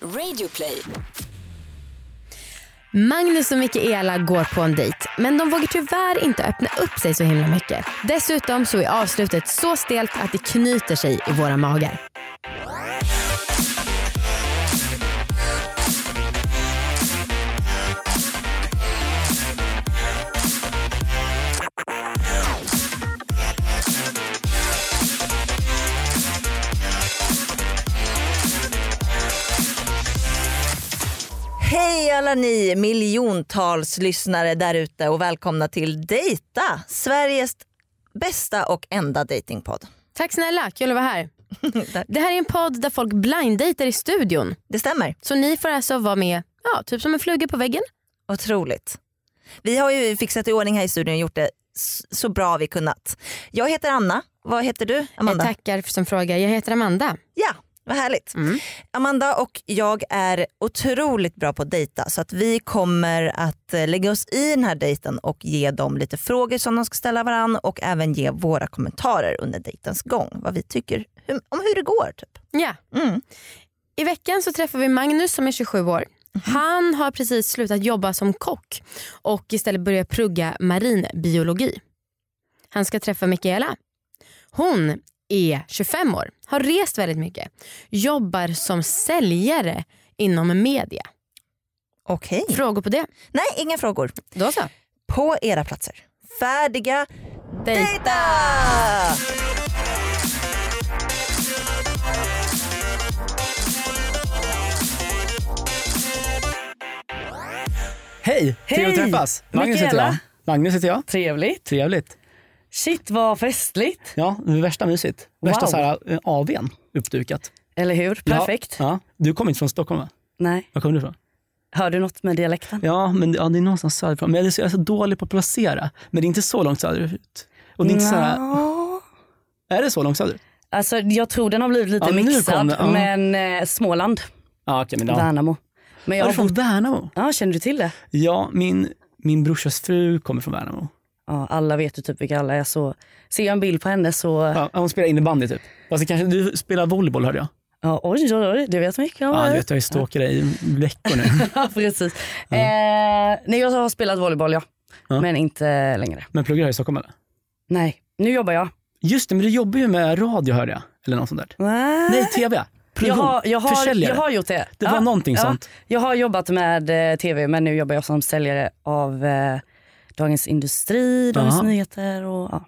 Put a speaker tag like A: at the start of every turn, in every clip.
A: Radioplay.
B: Magnus och Mikaela går på en dejt men de vågar tyvärr inte öppna upp sig så himla mycket. Dessutom så är avslutet så stelt att det knyter sig i våra magar.
C: Hej alla ni miljontals lyssnare där ute och välkomna till Dejta, Sveriges bästa och enda datingpodd.
B: Tack snälla, kul att vara här. Det här är en podd där folk blinddejtar i studion.
C: Det stämmer,
B: Så ni får alltså vara med, ja, typ som en fluga på väggen.
C: otroligt. Vi har ju fixat i ordning här i studion och gjort det s- så bra vi kunnat. Jag heter Anna, vad heter du Amanda?
B: Jag tackar som frågar. Jag heter Amanda.
C: Ja, vad härligt.
B: Mm.
C: Amanda och jag är otroligt bra på att dejta så att vi kommer att eh, lägga oss i den här dejten och ge dem lite frågor som de ska ställa varandra och även ge våra kommentarer under dejtens gång. Vad vi tycker hur, om hur det går. Typ.
B: Ja.
C: Mm.
B: I veckan så träffar vi Magnus som är 27 år. Han har precis slutat jobba som kock och istället börjat plugga marinbiologi. Han ska träffa Mikaela. Hon är 25 år, har rest väldigt mycket, jobbar som säljare inom media.
C: Okej.
B: Frågor på det?
C: Nej, inga frågor.
B: Då så.
C: På era platser. Färdiga,
B: Dejta!
C: dejta!
D: Hej! Trevligt att
E: Hej!
D: träffas. Magnus heter
E: Mikaela.
D: jag. Magnus heter jag.
E: Trevligt.
D: Trevligt.
E: Shit vad festligt.
D: Ja, det är värsta mysigt. Värsta
E: Wow.
D: så här, eh, AWn uppdukat.
E: Eller hur? Perfekt.
D: Ja, ja. Du kommer inte från Stockholm va?
E: Nej.
D: Var kommer du ifrån?
E: Hör du något med dialekten?
D: Ja, men ja, det är någonstans söderifrån. Men jag är så- jag är så dålig på att placera. Men det är inte så långt söderut. Och det är inte så här,
E: Nå.
D: är det så långt söderut?
E: Alltså jag tror den har blivit lite
D: Ja, nu kom
E: mixad
D: det, ja.
E: men eh, Småland,
D: Ja, okej. men ja.
E: Värnamo. Men jag
D: Är
E: har
D: du från
E: bott...
D: Värnamo?
E: Ja, känner du till det?
D: Ja, min, min brorsas fru kommer från Värnamo.
E: Ja, alla vet ju typ vilka alla är så ser jag en bild på henne så, ja,
D: Ja, hon spelar innebandy typ. Fast det kanske, du spelar volleyboll hörde jag.
E: oj oj oj, det vet mycket om
D: Ja, du
E: mig.
D: vet, jag har ju stalkat dig i veckor nu.
E: Ja, precis. Eh, nej jag har spelat volleyboll ja.
D: Ja.
E: Men inte längre.
D: Men pluggar här i Stockholm eller?
E: Nej, nu jobbar jag.
D: Just det, men du jobbar ju med radio hörde jag. Eller något sånt där. Nej, tv.
E: jag,
D: Produktion.
E: har, jag, har,
D: Försäljare.
E: jag har gjort det.
D: Det var någonting sånt.
E: Jag har jobbat med eh, tv men nu jobbar jag som säljare av eh, Dagens Industri, Dagens
D: Ja.
E: Nyheter och ja.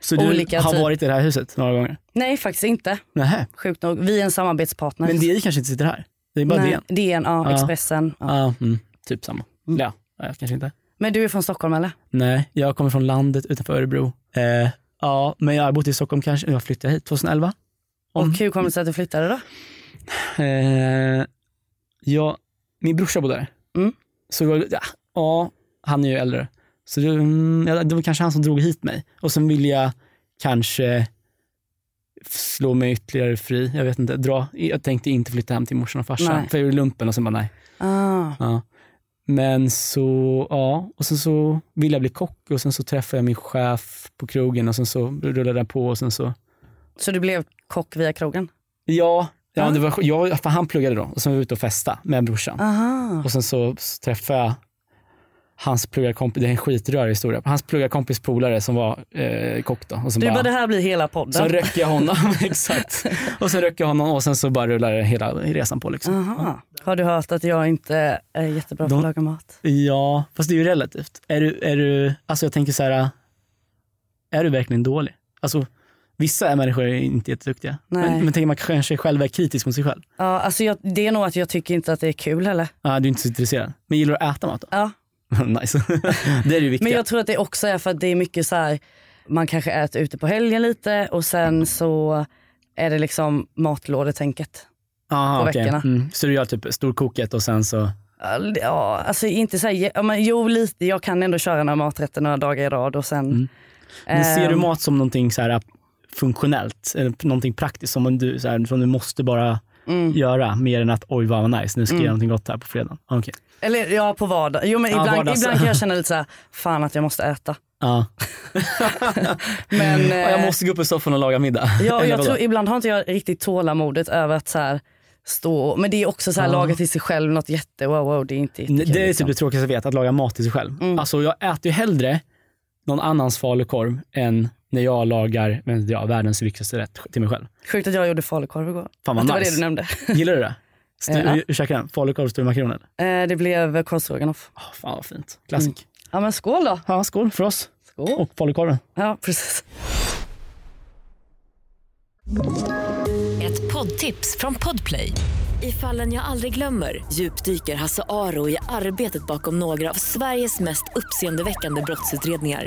D: Så du
E: olika
D: har
E: typ.
D: varit i det här huset några gånger?
E: Nej faktiskt inte.
D: Nähä.
E: Sjukt nog. Vi är en samarbetspartner.
D: Men DI kanske inte sitter här? Det är bara
E: Nej,
D: DN?
E: DN, ja,
D: Ja.
E: Expressen. Ja.
D: Ja, mm, typ samma. Eller Ja, ja, kanske inte.
E: Men du är från Stockholm eller?
D: Nej, jag kommer från landet utanför Örebro. Eh, ja, men jag har bott i Stockholm kanske, jag flyttade hit 2011. Mm.
E: Och hur kommer det sig att du flyttade då?
D: Eh, jag, min brorsa bodde där.
E: Mm.
D: Så det var, ja, ja, han är ju äldre. Så det, mm, ja, det var kanske han som drog hit mig. Och sen vill jag kanske slå mig ytterligare fri. Jag vet inte, dra. Jag tänkte inte flytta hem till morsan och farsan.
E: Nej.
D: För jag gjorde lumpen och sen bara nej.
E: Ah.
D: Ja. Men så, ja. Och sen så ville jag bli kock och sen så träffade jag min chef på krogen och sen så rullade den på och sen så
E: Så du blev kock via krogen?
D: Ja, ja
E: Ja.
D: det var, jag, för han pluggade då och sen var vi ute och festa med brorsan.
E: Aha.
D: Och sen så träffade jag hans pluggarkompis, det är en skitrörig historia, hans pluggarkompis polare som var eh, kock då. Och sen
E: Du bara,
D: bara,
E: det här blir hela
D: sen
E: podden.
D: röckte jag honom, exakt. Och sen röckte jag honom och sen så bara rullade hela resan på liksom.
E: Aha. Har du hört att jag inte är jättebra på
D: De-
E: att laga mat?
D: Ja, fast det är ju relativt. Är du, är du, alltså jag tänker så här, är du verkligen dålig? Alltså vissa människor är inte jätteduktiga.
E: Nej.
D: Men, men tänker man kanske själv är kritisk mot sig själv?
E: Ja, alltså jag, det är nog att jag tycker inte att det är kul heller.
D: Ja, du är inte så intresserad. Men gillar du att äta mat då?
E: Ja,
D: nice. det är det viktiga.
E: Men jag tror att det också är för att det är mycket så här, man kanske äter ute på helgen lite och sen så är det liksom matlådetänket.
D: Aha,
E: på
D: okej.
E: veckorna.
D: Mm. Så du gör typ storkoket och sen så...
E: All- Ja, alltså inte så här, ja, men jo lite, jag kan ändå köra några maträtter några dagar i rad och sen.
D: Mm. Men ser du
E: Ehm.
D: mat som någonting så här funktionellt, eller någonting praktiskt som du, så här, som du måste bara
E: mm.
D: göra, mer än att oj vad nice, nu ska jag göra någonting gott här på fredagen. Ah, Okej.
E: Eller ja, på vardag. Jo men
D: Ja,
E: ibland,
D: vardags.
E: ibland kan jag känna lite så här, fan att jag måste äta.
D: Ja.
E: Men
D: Ja, jag
E: eh,
D: måste gå upp ur soffan och laga middag.
E: ja, och
D: Eller
E: jag
D: vadå?
E: tror, ibland har inte jag riktigt tålamodet över att så här, stå och, Men det är också så här
D: Ja.
E: laga till sig själv något jätte, wow, wow det är inte jättekul.
D: Det är typ
E: liksom.
D: det tråkigaste jag vet, att laga mat till sig själv.
E: Mm.
D: Alltså jag äter ju hellre någon annans falukorv än när jag lagar men, ja, världens viktigaste rätt till mig själv.
E: Sjukt att jag gjorde falukorv igår.
D: Fan vad
E: Att det var
D: nice.
E: det du nämnde.
D: Gillar du det? Stu,
E: Eh, ja.
D: hur- Hur käkar den? Falukorv, stor makaroner?
E: Eh, Det blev korvstroganoff.
D: Oh, fan vad fint. Classic.
E: Mm. Ja men skål då.
D: Ja, skål för oss
E: Skål.
D: och falukorven.
E: Ja precis.
A: Ett poddtips från Podplay. I fallen jag aldrig glömmer djupdyker Hasse Aro i arbetet bakom några av Sveriges mest uppseendeväckande brottsutredningar.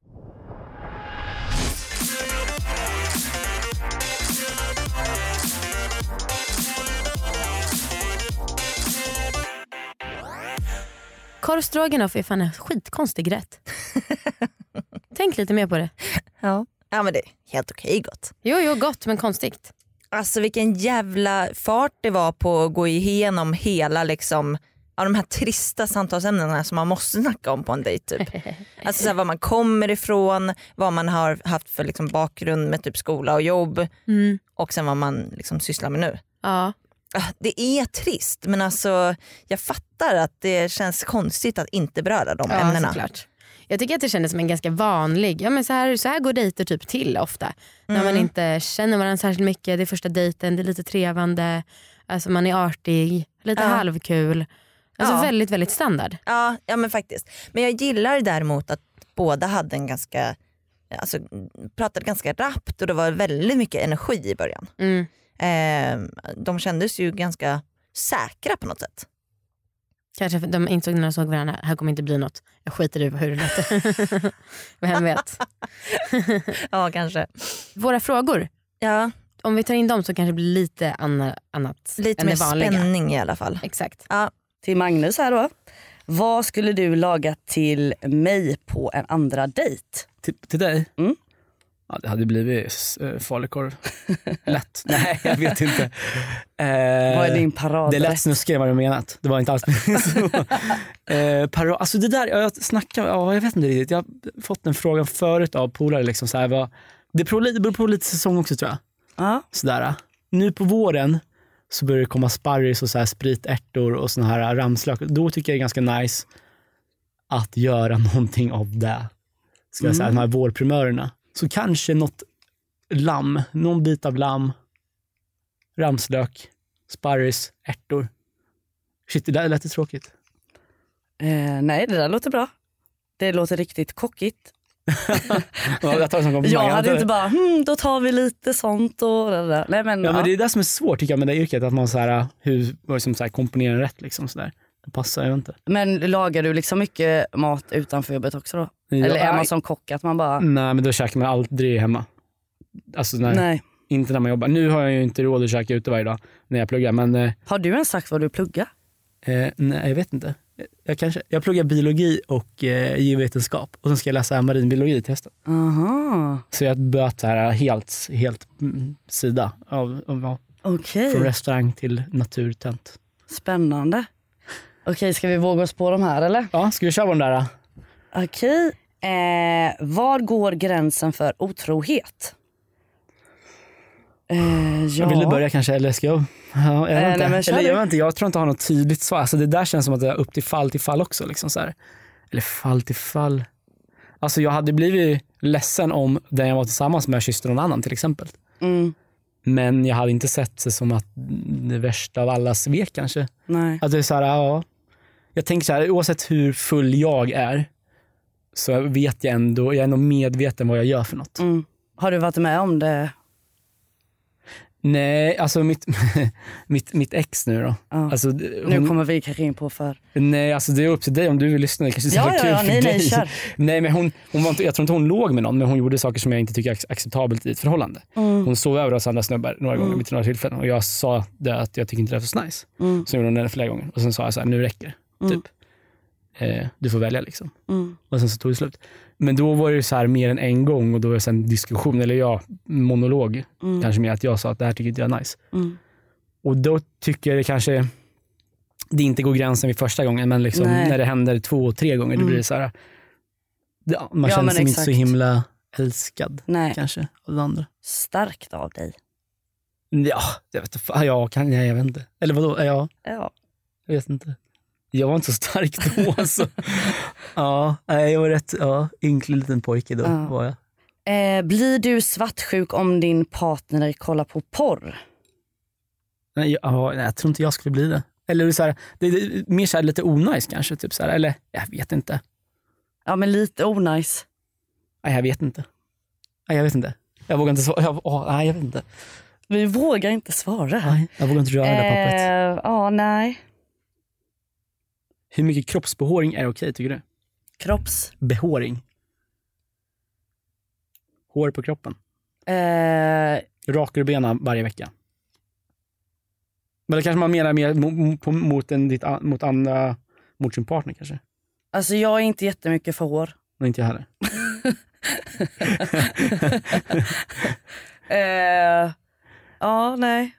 B: Korv stroganoff är fan en skitkonstig rätt. Tänk lite mer på det.
C: Ja. ja men det är helt okej gott.
B: Jo, jo, gott men konstigt.
C: Alltså vilken jävla fart det var på att gå igenom hela liksom av de här trista samtalsämnena som man måste snacka om på en dejt. Typ. Alltså så här, var man kommer ifrån, vad man har haft för liksom, bakgrund med typ skola och jobb
B: Mm.
C: och sen vad man liksom, sysslar med nu.
B: Ja.
C: Ah, Det är trist men alltså jag fattar att det känns konstigt att inte beröra de ämnena.
B: såklart. Jag tycker att det kändes som en ganska vanlig, ja men så här, så här går dejter typ till ofta. När
C: Mm.
B: man inte känner varandra särskilt mycket, det är första dejten, det är lite trevande, alltså man är artig, lite
C: Ja.
B: halvkul. Alltså
C: Ja.
B: väldigt, väldigt standard.
C: Ja, ja men faktiskt. Men jag gillar däremot att båda hade en ganska, alltså pratade ganska rappt och det var väldigt mycket energi i början.
B: Mm.
C: Eh, de kändes ju ganska säkra på något sätt.
B: Kanske för de insåg när de såg varandra, här kommer inte bli något. Jag skiter i hur det låter. Vem vet.
C: Ja kanske.
B: Våra frågor,
C: Ja,
B: om vi tar in dem så kanske det blir lite anna, annat
C: lite
B: än
C: mer
B: det vanliga.
C: spänning i alla fall.
B: Exakt.
E: Till Magnus här då. Vad skulle du laga till mig på en andra dejt?
D: Till, till dig?
E: Mm.
D: Ja, det hade blivit äh, falukorv. Lätt. Nej, jag vet inte. Eh,
E: Vad är din
D: Det
E: paradrätt?
D: lät snuskigare än vad du menat. Det var inte alls så. Eh, paro- alltså det där, jag snackar, ja, jag vet inte riktigt. Jag har fått den frågan förut av polare. Liksom, så här, vad, det beror lite- det beror på lite säsong också tror jag.
E: Ja.
D: Sådär. Nu på våren så börjar det komma sparris och så här spritärtor och såna här ramslök. Då tycker jag det är ganska nice att göra någonting av det. Ska jag säga, de här vårprimörerna. Så kanske något lamm, någon bit av lamm, ramslök, sparris, ärtor. Shit, det där lät ju tråkigt.
E: Eh, nej det där låter bra. Det låter riktigt kockigt.
D: Ja, Jag tar det som komplimang.
E: Jag hade
D: antar
E: inte
D: det.
E: bara, hm, då tar vi lite sånt och det där. Nej men,
D: Ja,
E: ja.
D: men det är det som är svårt tycker jag med det yrket, att man så här, hur, vad som så här, komponerar rätt. Liksom, så där. Det passar ju inte.
E: men lagar du liksom mycket mat utanför jobbet också då? Eller är man som kock att man bara,
D: Nej, men då käkar man aldrig hemma. Alltså, nej,
E: nej.
D: Inte när man jobbar. Nu har jag ju inte råd att käka ute varje dag när jag pluggar, men eh,
E: Har du ens sagt vad du pluggar?
D: eh, nej, jag vet inte. Jag, kanske, jag pluggar biologi och eh, geovetenskap och sen ska jag läsa marinbiologi till hösten.
E: Aha,
D: Så jag böt så här helt, helt mm, sida av, av, av
E: okej.
D: från restaurang till naturtent.
E: Spännande. Okej, ska vi våga oss på de här eller?
D: Ja, ska vi köra på den där? eh?
E: Okej. Eh, var går gränsen för otrohet? Eh, ja.
D: Vill du börja kanske eller ska jag? Ja, jag,
E: Eh,
D: vet inte.
E: nej, men kör
D: eller, jag,
E: du.
D: vet inte, jag tror inte jag har något tydligt svar. Alltså, det där känns som att det är upp till fall till fall också. Liksom, så här. Eller fall till fall. Alltså, jag hade blivit ledsen om den jag var tillsammans med kysste någon annan till exempel.
E: Mm,
D: Men jag hade inte sett det som att det värsta av alla svek kanske.
E: nej.
D: Att det är så här, ja. Jag tänker så här, oavsett hur full jag är så vet jag ändå, jag är ändå medveten vad jag gör för något.
E: Mm. Har du varit med om det?
D: Nej, alltså mitt, mitt, mitt ex nu då.
E: Ja.
D: Alltså,
E: Nu
D: hon-
E: kommer vi kanske in på för...
D: Nej, alltså det är upp till dig om du vill lyssna. Det kanske inte är
E: Ja,
D: så
E: ja, ja,
D: kul
E: nej,
D: för
E: nej,
D: dig.
E: kör.
D: Nej, men hon, hon var inte, jag tror inte hon låg med någon, men hon gjorde saker som jag inte tycker är ac- acceptabelt i ett förhållande.
E: Mm.
D: Hon sov över hos andra snubbar några gånger vid några tillfällen och jag sa det att jag tycker inte det är så nice.
E: Mm.
D: Så gjorde hon det flera gånger och sen sa jag så här, nu räcker det. Typ. Eh, du får välja liksom.
E: Mm.
D: Och sen så tog det slut. Men då var det ju så här mer än en gång och då var det så här en diskussion, eller jag, monolog
E: Mm.
D: kanske mer, att jag sa att det här tycker inte jag är nice.
E: Mm.
D: Och då tycker jag det kanske, det inte går gränsen vid första gången, men liksom
E: Nej.
D: när det händer två och tre gånger, då
E: Mm.
D: blir det så här, ja, man
E: Ja,
D: känner
E: men
D: sig inte så
E: exakt.
D: himla älskad
E: Nej.
D: kanske av den andra.
E: Starkt av dig.
D: Ja, jag vet, inte, fan, jag kan, nej, jag vet inte. Eller vadå, ja,
E: Ja.
D: jag vet inte. Jag var inte så stark då alltså. ja, nej, jag var rätt ja, ynklig liten pojke då.
E: Ja.
D: Var jag.
E: Eh, blir du svartsjuk om din partner kollar på porr?
D: Nej, jag, ja, nej, jag tror inte jag skulle bli det. Eller det är så här, det är mer så här lite onajs kanske. Typ så här, eller jag vet inte.
E: Ja men lite onajs.
D: Nej, jag vet inte. Nej, jag vet inte. Jag vågar inte svara. Jag, åh, nej, jag vet inte.
E: Vi vågar inte svara.
D: Nej, jag vågar inte röra det där pappret.
E: Eh, ja, nej.
D: Hur mycket kroppsbehåring är okej tycker du?
E: Kropps.
D: Behåring. Hår på kroppen.
E: Eh,
D: Rakar du benen varje vecka? Men det kanske man menar mer mot, mot, en, ditt, an- mot, andra, mot sin partner kanske?
E: alltså jag är inte jättemycket för hår.
D: Men inte jag heller.
E: Eh, ja, nej.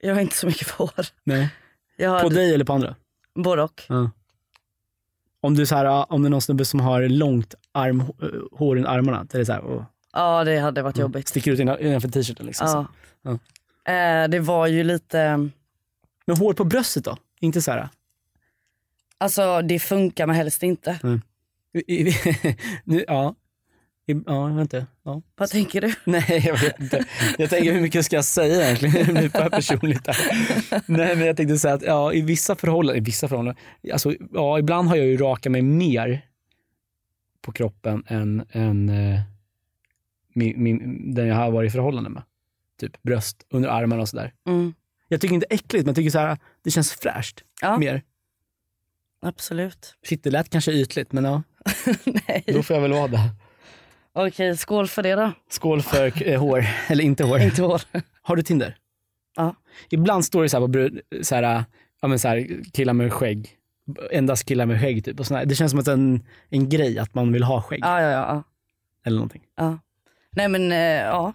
E: Jag är inte så mycket för hår.
D: Nej.
E: Jag har
D: På dig eller på andra?
E: både och.
D: Om, du så här, om det är någon snubbe som har långt arm, eh, hår runt armarna, det är så här, och,
E: Ja, det hade
D: Mm.
E: varit jobbigt.
D: sticker ut innan- innanför t-shirten. Liksom, så.
E: Ja. Eh, det var ju lite...
D: Men hår på bröstet då? Inte så här...
E: Alltså det funkar men helst inte.
D: nu, ja. I- Ja, jag vet inte. Ja.
E: Vad tänker du?
D: Nej, jag vet inte. Jag tänker hur mycket ska jag säga egentligen? Det blir för personligt här. Nej, men jag tänkte säga att ja, i vissa förhållanden, i vissa förhållanden, alltså, ja, ibland har jag ju rakat mig mer på kroppen än, än eh, min, min, den jag har varit i förhållande med. Typ bröst, under armarna och sådär.
E: Mm,
D: Jag tycker inte äckligt, men jag tycker så här, det känns fräscht.
E: Ja.
D: Mer.
E: absolut.
D: Shit, det lät kanske ytligt, men ja,
E: nej.
D: då får jag väl vara det.
E: Okej, skål för det då.
D: Skål för eh, hår, eller inte hår.
E: Inte hår.
D: Har du Tinder?
E: Ja.
D: Ibland står det så här på brud, så här, ja, men så här killar med skägg. Endast killar med skägg typ. Och sån här. Det känns som att en, en grej att man vill ha skägg.
E: Ja, ja, ja. ja.
D: Eller någonting.
E: Nej men eh, ja.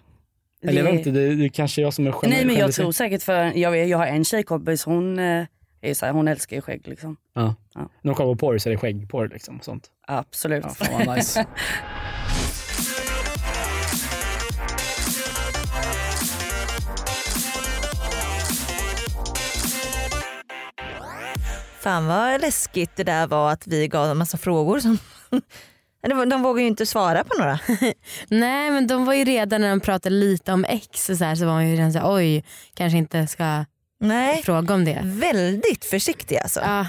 D: Eller jag
E: Det-
D: vet inte, det, det kanske är jag som är skämmer.
E: Nej men jag tror säkert för jag, vet, jag har en tjejkompis hon, eh, är så här, hon älskar ju skägg liksom.
D: Ja.
E: Ja.
D: När de kollar på porr så är det skäggporr liksom. Sånt.
E: Absolut.
D: Ja, fan vad nice.
C: Fan vad läskigt det där var att vi gav en massa frågor som Det var- de vågar ju inte svara på några.
B: Nej men de var ju redan när de pratade lite om ex och så, här, så var man ju redan såhär oj kanske inte ska
C: Nej,
B: fråga om det. Ah,
C: väldigt försiktiga alltså.
B: Ja,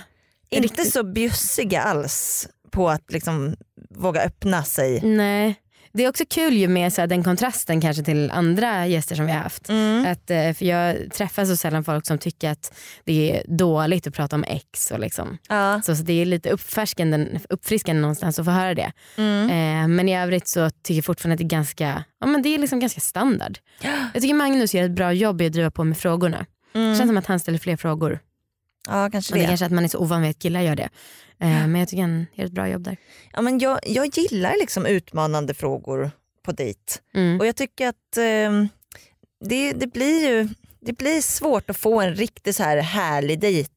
C: inte
B: riktigt.
C: så bjussiga alls på att liksom våga öppna sig.
B: nej. Det är också kul ju med så här, den kontrasten kanske till andra gäster som vi har haft.
C: Mm.
B: Att, eh, för jag träffar så sällan folk som tycker att det är dåligt att prata om ex. Och liksom.
C: Ja.
B: så, så det är lite uppfärskande, uppfriskande någonstans att få höra det.
C: Mm.
B: Eh, men i övrigt så tycker jag fortfarande att det är ganska, ja, men det är liksom ganska standard. Jag tycker Magnus gör ett bra jobb i att driva på med frågorna. Det känns som att han ställer fler frågor.
C: Mm. Ja, kanske
B: Och det
C: det.
B: kanske är att man är så ovan vid att killar gör det. Eh, Men jag tycker han gör ett bra jobb där.
C: Ja, men jag, jag gillar liksom utmanande frågor på dejt.
B: Mm.
C: Och jag tycker att ehm, det, det blir ju det blir svårt att få en riktigt så här härlig dejt,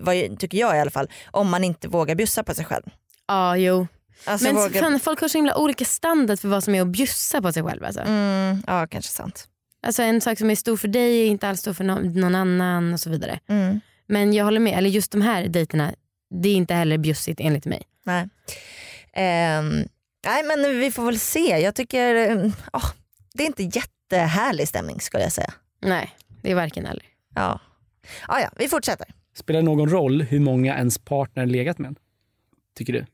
C: vad jag- tycker jag i alla fall, om man inte vågar bjussa på sig själv.
B: Ja, jo.
C: Alltså
B: Men
C: våga-
B: fan, folk har så himla olika standard för vad som är att bjussa på sig själv. Alltså.
C: Mm, ja, kanske sant.
B: Alltså, en sak som är stor för dig är inte alls stor för no- någon annan och så vidare.
C: Mm.
B: Men jag håller med, eller just de här dejterna, det är inte heller bjussigt enligt mig.
C: Nej. Ehm, nej, men vi får väl se. Jag tycker mm, ah, det är inte jättehärlig stämning skulle jag säga.
B: Nej, det är varken eller.
C: Ja. Ah, ja, vi fortsätter.
D: Spelar det någon roll hur många ens partner legat med? Tycker du?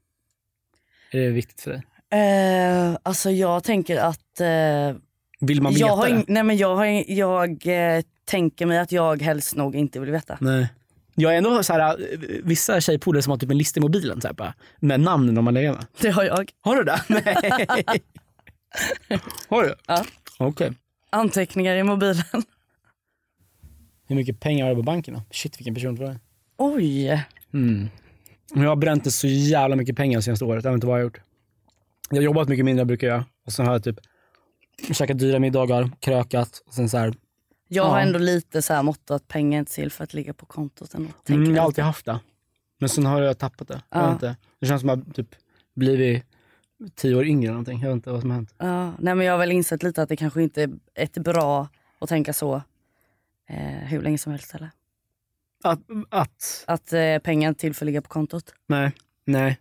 D: Är det viktigt för dig?
E: Eh, alltså jag tänker att eh,
D: Vill man veta
E: jag, har
D: det?
E: ing- nej, men jag, har ing- jag eh, tänker mig att jag helst nog inte vill veta.
D: Nej. Jag är ändå så här, eh, vissa tjejpolare som har typ en lista i mobilen så här, bara, med namnen de har legat med.
E: Det har jag.
D: Har du det? Nej. har du?
E: Ja.
D: Okej.
E: Anteckningar i mobilen.
D: Hur mycket pengar har du på banken då? Shit vilken person du är.
E: Oj.
D: Mm. Men Jag har bränt så jävla mycket pengar det senaste året. Jag vet inte vad jag har gjort. Jag har jobbat mycket mindre än jag brukar göra. Och sen har jag typ käkat dyra middagar, krökat. Och sen så här,
E: Jag har
D: Ja.
E: ändå lite så här motto att pengar är inte till för att ligga på kontot. Ändå, tänker
D: mm, jag
E: jag.
D: har alltid haft det. Men sen har jag tappat det. Jag
E: Ja.
D: vet inte. Det känns som att jag typ blivit tio år yngre eller någonting. Jag vet inte vad som har hänt.
E: Ja, nej, men jag har väl insett lite att det kanske inte är ett bra att tänka så eh, hur länge som helst. Eller?
D: Att, att
E: Att eh, pengar är inte till för att ligga på kontot.
D: nej, nej.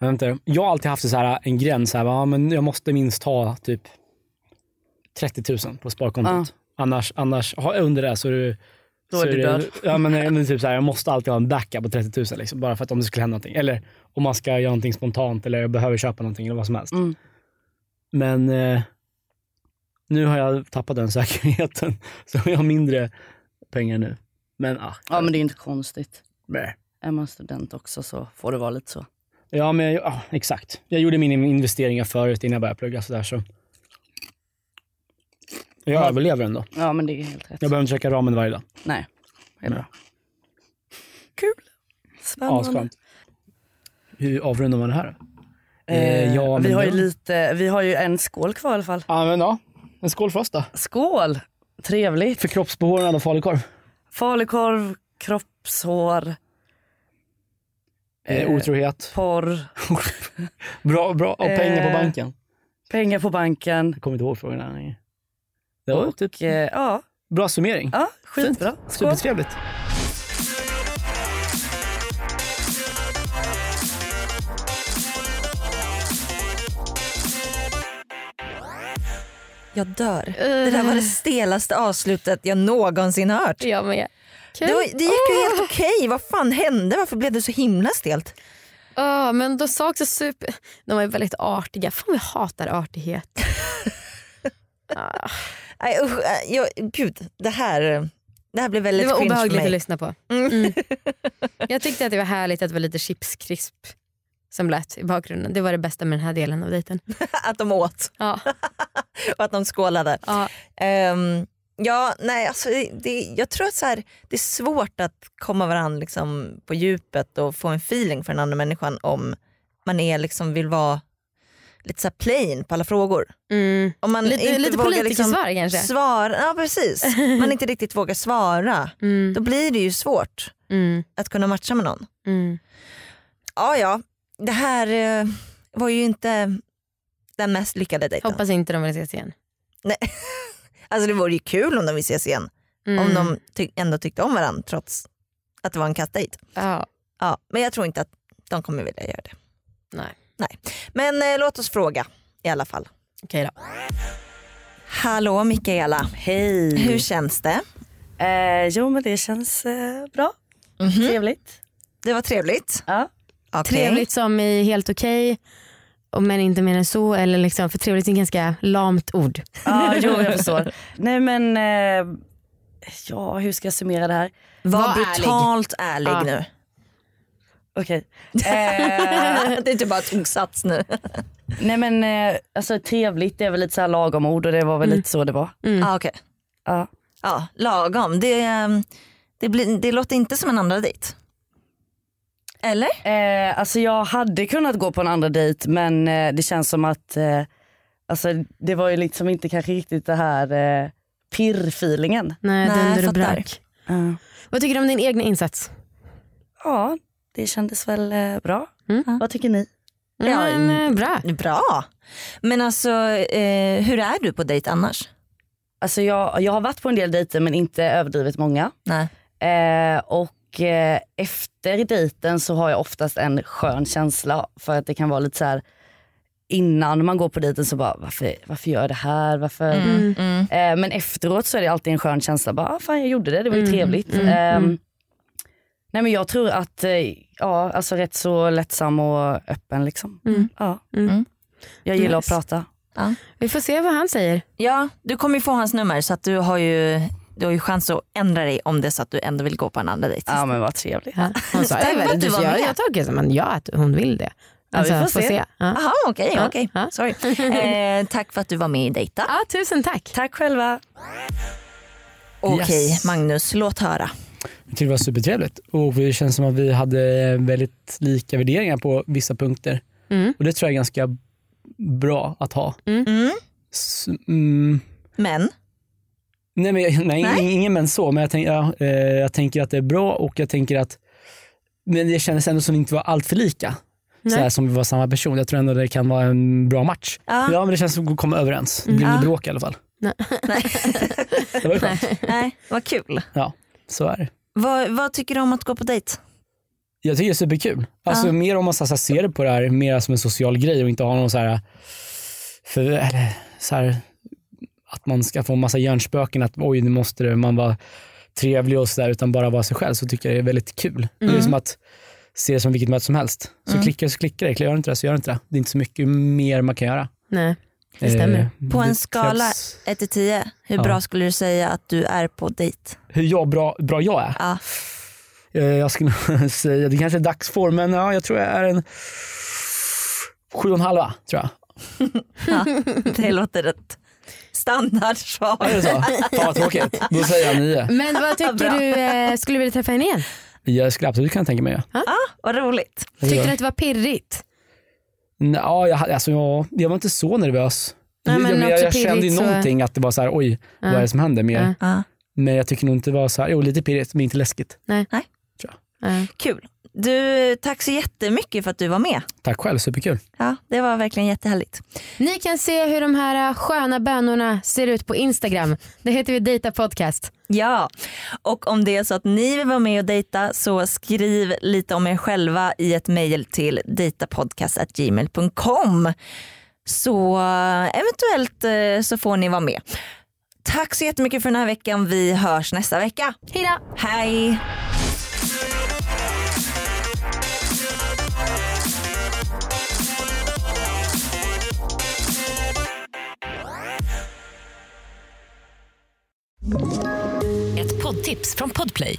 D: Jag vet inte. Jag har alltid haft så här en gräns. Här, va, ja, men jag måste minst ha typ 30 000 på sparkontot. Annars, annars, ha- under det så är du
E: Då
D: så
E: är du död.
D: Ja, men, nej, men typ så här, jag måste alltid ha en backup på 30 000 liksom, bara för att om det skulle hända någonting. Eller om man ska göra någonting spontant eller jag behöver köpa någonting eller vad som helst.
E: Mm.
D: Men eh, nu har jag tappat den säkerheten. Så jag har mindre pengar nu. Men ah,
E: Ja, men det är ju inte konstigt.
D: blä.
E: Är man student också så får det vara lite så.
D: Ja, men jag, ja, exakt. Jag gjorde mina investeringar förut innan jag började plugga. Så där, så. Jag överlever ändå.
E: Ja, men det är helt rätt.
D: Jag behöver inte käka ramen varje dag.
E: Nej, det är
D: Nej.
E: bra. Kul. Spännande.
D: Asskönt. Hur avrundar man det här? då? Eh,
E: Eh,
D: ja, men
E: vi, har ju
D: då-
E: lite, vi har ju en skål kvar i alla fall.
D: Ja, men ja. En skål för oss då.
E: Skål! Trevligt.
D: För kroppsbehårnad och falukorv.
E: Falukorv, kroppshår,
D: Eh, otrohet.
E: porr,
D: Bra, bra. Och pengar på
E: eh,
D: banken.
E: pengar på banken.
D: Jag kommer inte ihåg frågorna längre. Det var typ
E: Eh, ja,
D: bra summering.
E: ja, skitbra. Skål.
D: Supertrevligt.
C: Jag dör. Det där var det stelaste avslutet jag någonsin hört.
B: Uh, Jag med. Kul.
C: Det, var, det gick ju helt okej. Vad fan hände? Varför blev det så himla stelt?
B: Ja, men de sa också super... De var ju väldigt artiga. Fan vi hatar artighet. ah,
C: Nej, usch, äh, jag, gud, det här, det här blev
B: det
C: väldigt
B: var
C: cringe för
B: obehagligt att
C: mig.
B: lyssna på.
C: Mm.
B: Mm. Jag tyckte att det var härligt att det var lite chipskrisp som lät i bakgrunden. Det var det bästa med den här delen av dejten.
C: Att de åt
B: Ja,
C: och att de skålade.
B: ja.
C: Ehm, ja, nej, alltså, det- det, jag tror att så här, det är svårt att komma varandra liksom, på djupet och få en feeling för den andra människan om man är, liksom, vill vara lite så här plain på alla frågor.
B: Mm.
C: Om man
B: Lite,
C: inte
B: lite
C: vågar liksom-
B: politikersvar kanske.
C: svara. Ja, precis. Man inte riktigt vågar svara.
B: Mm,
C: Då blir det ju svårt
B: mm,
C: att kunna matcha med någon.
B: mm.
C: Ja, ja. Det här eh, var ju inte den mest lyckade dejten.
B: Hoppas inte de vill ses igen.
C: Alltså det vore ju kul om de vill ses igen.
B: Mm.
C: Om de ty- ändå tyckte om varandra trots att det var en kattdejt.
B: Ja,
C: Ja, men jag tror inte att de kommer vilja göra det.
B: nej.
C: Men eh, låt oss fråga i alla fall.
B: Okej då.
C: Hallå Mikaela,
E: Hej.
C: hur känns det?
E: Eh, jo men det känns eh, bra. Trevligt.
C: Det var trevligt.
E: Ja.
C: Okej.
B: Mhm. Trevligt som i helt okej, och men inte mer än så. Eller liksom, för trevligt är ett ganska lamt ord.
E: Ja, jo jag förstår. Nej men, eh, ja hur ska jag summera det här?
C: Var,
B: Var ärlig.
C: brutalt ärlig,
B: Ja.
C: nu.
E: Okej. Eh,
C: det är inte bara tog sats nu.
E: nej men eh, alltså trevligt det är väl lite så här lagom ord och det var väl lite så det var.
C: Ja, Ah, okej.
E: Ja.
C: ja, lagom. Det, eh, det, blir, det låter inte som en andra dejt. Eller?
E: Eh, alltså jag hade kunnat gå på en andra dejt men eh, det känns som att eh, alltså, det var ju liksom inte kanske riktigt det här eh, pirr-feelingen.
B: Nej,
C: Nej,
B: dunder och
C: jag fattar.
B: brak. Vad tycker du om din egna insats?
E: Ja, det kändes väl eh, bra.
B: Mm.
E: Vad tycker ni?
C: Ja,
B: men, eh, bra.
C: Bra. Men alltså, eh, hur är du på dejt annars?
E: Alltså jag, jag har varit på en del dejter men inte överdrivet många.
C: Nej.
E: Eh, och eh, efter dejten så har jag oftast en skön känsla för att det kan vara lite så här innan man går på dejten så bara varför, varför gör jag det här? Varför?
C: Mm. Mm.
E: Eh, men efteråt så är det alltid en skön känsla. Bara, ah, fan jag gjorde det, det var ju
B: Mm,
E: trevligt.
B: mm,
E: Ehm,
B: mm.
E: Nej men jag tror att, eh, ja alltså rätt så lättsam och öppen liksom.
B: Mm.
E: Ja.
B: Mm.
E: Jag gillar
B: Nice.
E: att prata.
B: Vi får se vad han säger.
C: Ja, du kommer ju få hans nummer så att du har ju du har ju chans att ändra dig om det är så att du ändå vill gå på en andra dejt.
E: Ja men vad trevligt.
B: Ja. Hon sa,
C: Tack för
B: "Eh,
C: att
B: vad
C: du
B: du
C: var
B: jag,
C: med."
B: jag tolkar det som att ja, att hon vill det. Alltså,
E: vi får se.
B: Ja.
C: Jaha okej,
B: Ja,
C: okej.
B: ja.
C: Sorry. Eh, tack för att du var med i Dejta.
B: Ja, tusen tack.
E: Tack själva.
C: Okej
D: Yes.
C: Magnus, låt höra.
D: Jag tyckte det var supertrevligt. Och det känns som att vi hade väldigt lika värderingar på vissa punkter.
B: Mm.
D: Och det tror jag är ganska bra att ha.
C: Mm.
D: S- mm.
C: Men,
D: Nej, men, jag- nej,
C: Nej.
D: ingen men så, men jag, tänk, ja, eh, jag tänker att det är bra och jag tänker att men det kändes ändå som att vi inte var allt för lika. Så
B: Nej.
D: här, som vi var samma person. Jag tror ändå det kan vara en bra match.
C: ja,
D: Ja men det känns som att vi kommer överens. Det blir
C: Mm.
D: inget
C: Ja.
D: bråk i alla fall.
C: nej,
D: Det var ju skönt.
C: nej, vad kul.
D: Så är det.
C: Vad, vad tycker du om att gå på dejt?
D: Jag tycker det är superkul. Alltså
C: Ja.
D: mer om man så här, ser det på det här mer som en social grej och inte har någon så här, för, eller, så här att man ska få en massa hjärnspöken att oj nu måste det, man vara trevlig och sådär utan bara vara sig själv så tycker jag det är väldigt kul.
C: Mm.
D: Det är som att se det som vilket möte som helst. Så klickar det så klickar det, gör inte det så gör inte det. Det är inte så mycket mer man kan göra. Eh,
B: Nej. Det stämmer.
C: På en
D: det
C: skala
D: krävs-
C: 1 till 10, hur
D: Ja.
C: bra skulle du säga att du är på dejt?
D: Hur jag, bra, bra jag är?
C: Ja.
D: Eh, Jag skulle nog säga, det kanske är dagsform, men ja, jag tror jag är en sju och en halva tror jag.
C: Det låter ett
D: Ja,
C: standardsvar.
D: Är det så? Fan vad tråkigt. Då säger jag nio.
B: Men vad tycker du, eh, skulle du vilja träffa henne igen?
D: Jag skulle absolut kunna tänka mig det.
C: Vad roligt.
B: Tyckte du att det var pirrigt?
D: Nej, ja, jag, alltså, jag, jag var inte så nervös.
B: Nej,
D: Jag-
B: men
D: jag, jag,
B: också
D: jag kände ju
B: pirrigt så-
D: någonting att det var så här, oj, vad är det som händer mer?
B: Ja.
C: Ja.
D: Men jag tycker nog inte det var så här, jo lite pirrigt men inte läskigt.
B: Ja.
C: Kul. Du, tack så jättemycket för att du var med.
D: Tack själv, superkul.
C: Ja, det var verkligen jättehärligt.
B: Ni kan se hur de här eh, sköna bönorna ser ut på Instagram. Det heter vi Dejta Podcast.
C: Ja, och om det är så att ni vill vara med och dejta så skriv lite om er själva i ett mejl till dejtapodcast.gmail.com så eh, eventuellt eh, så får ni vara med. Tack så jättemycket för den här veckan. Vi hörs nästa vecka.
B: Hejdå!
C: Hej!
A: Ett poddtips från Podplay.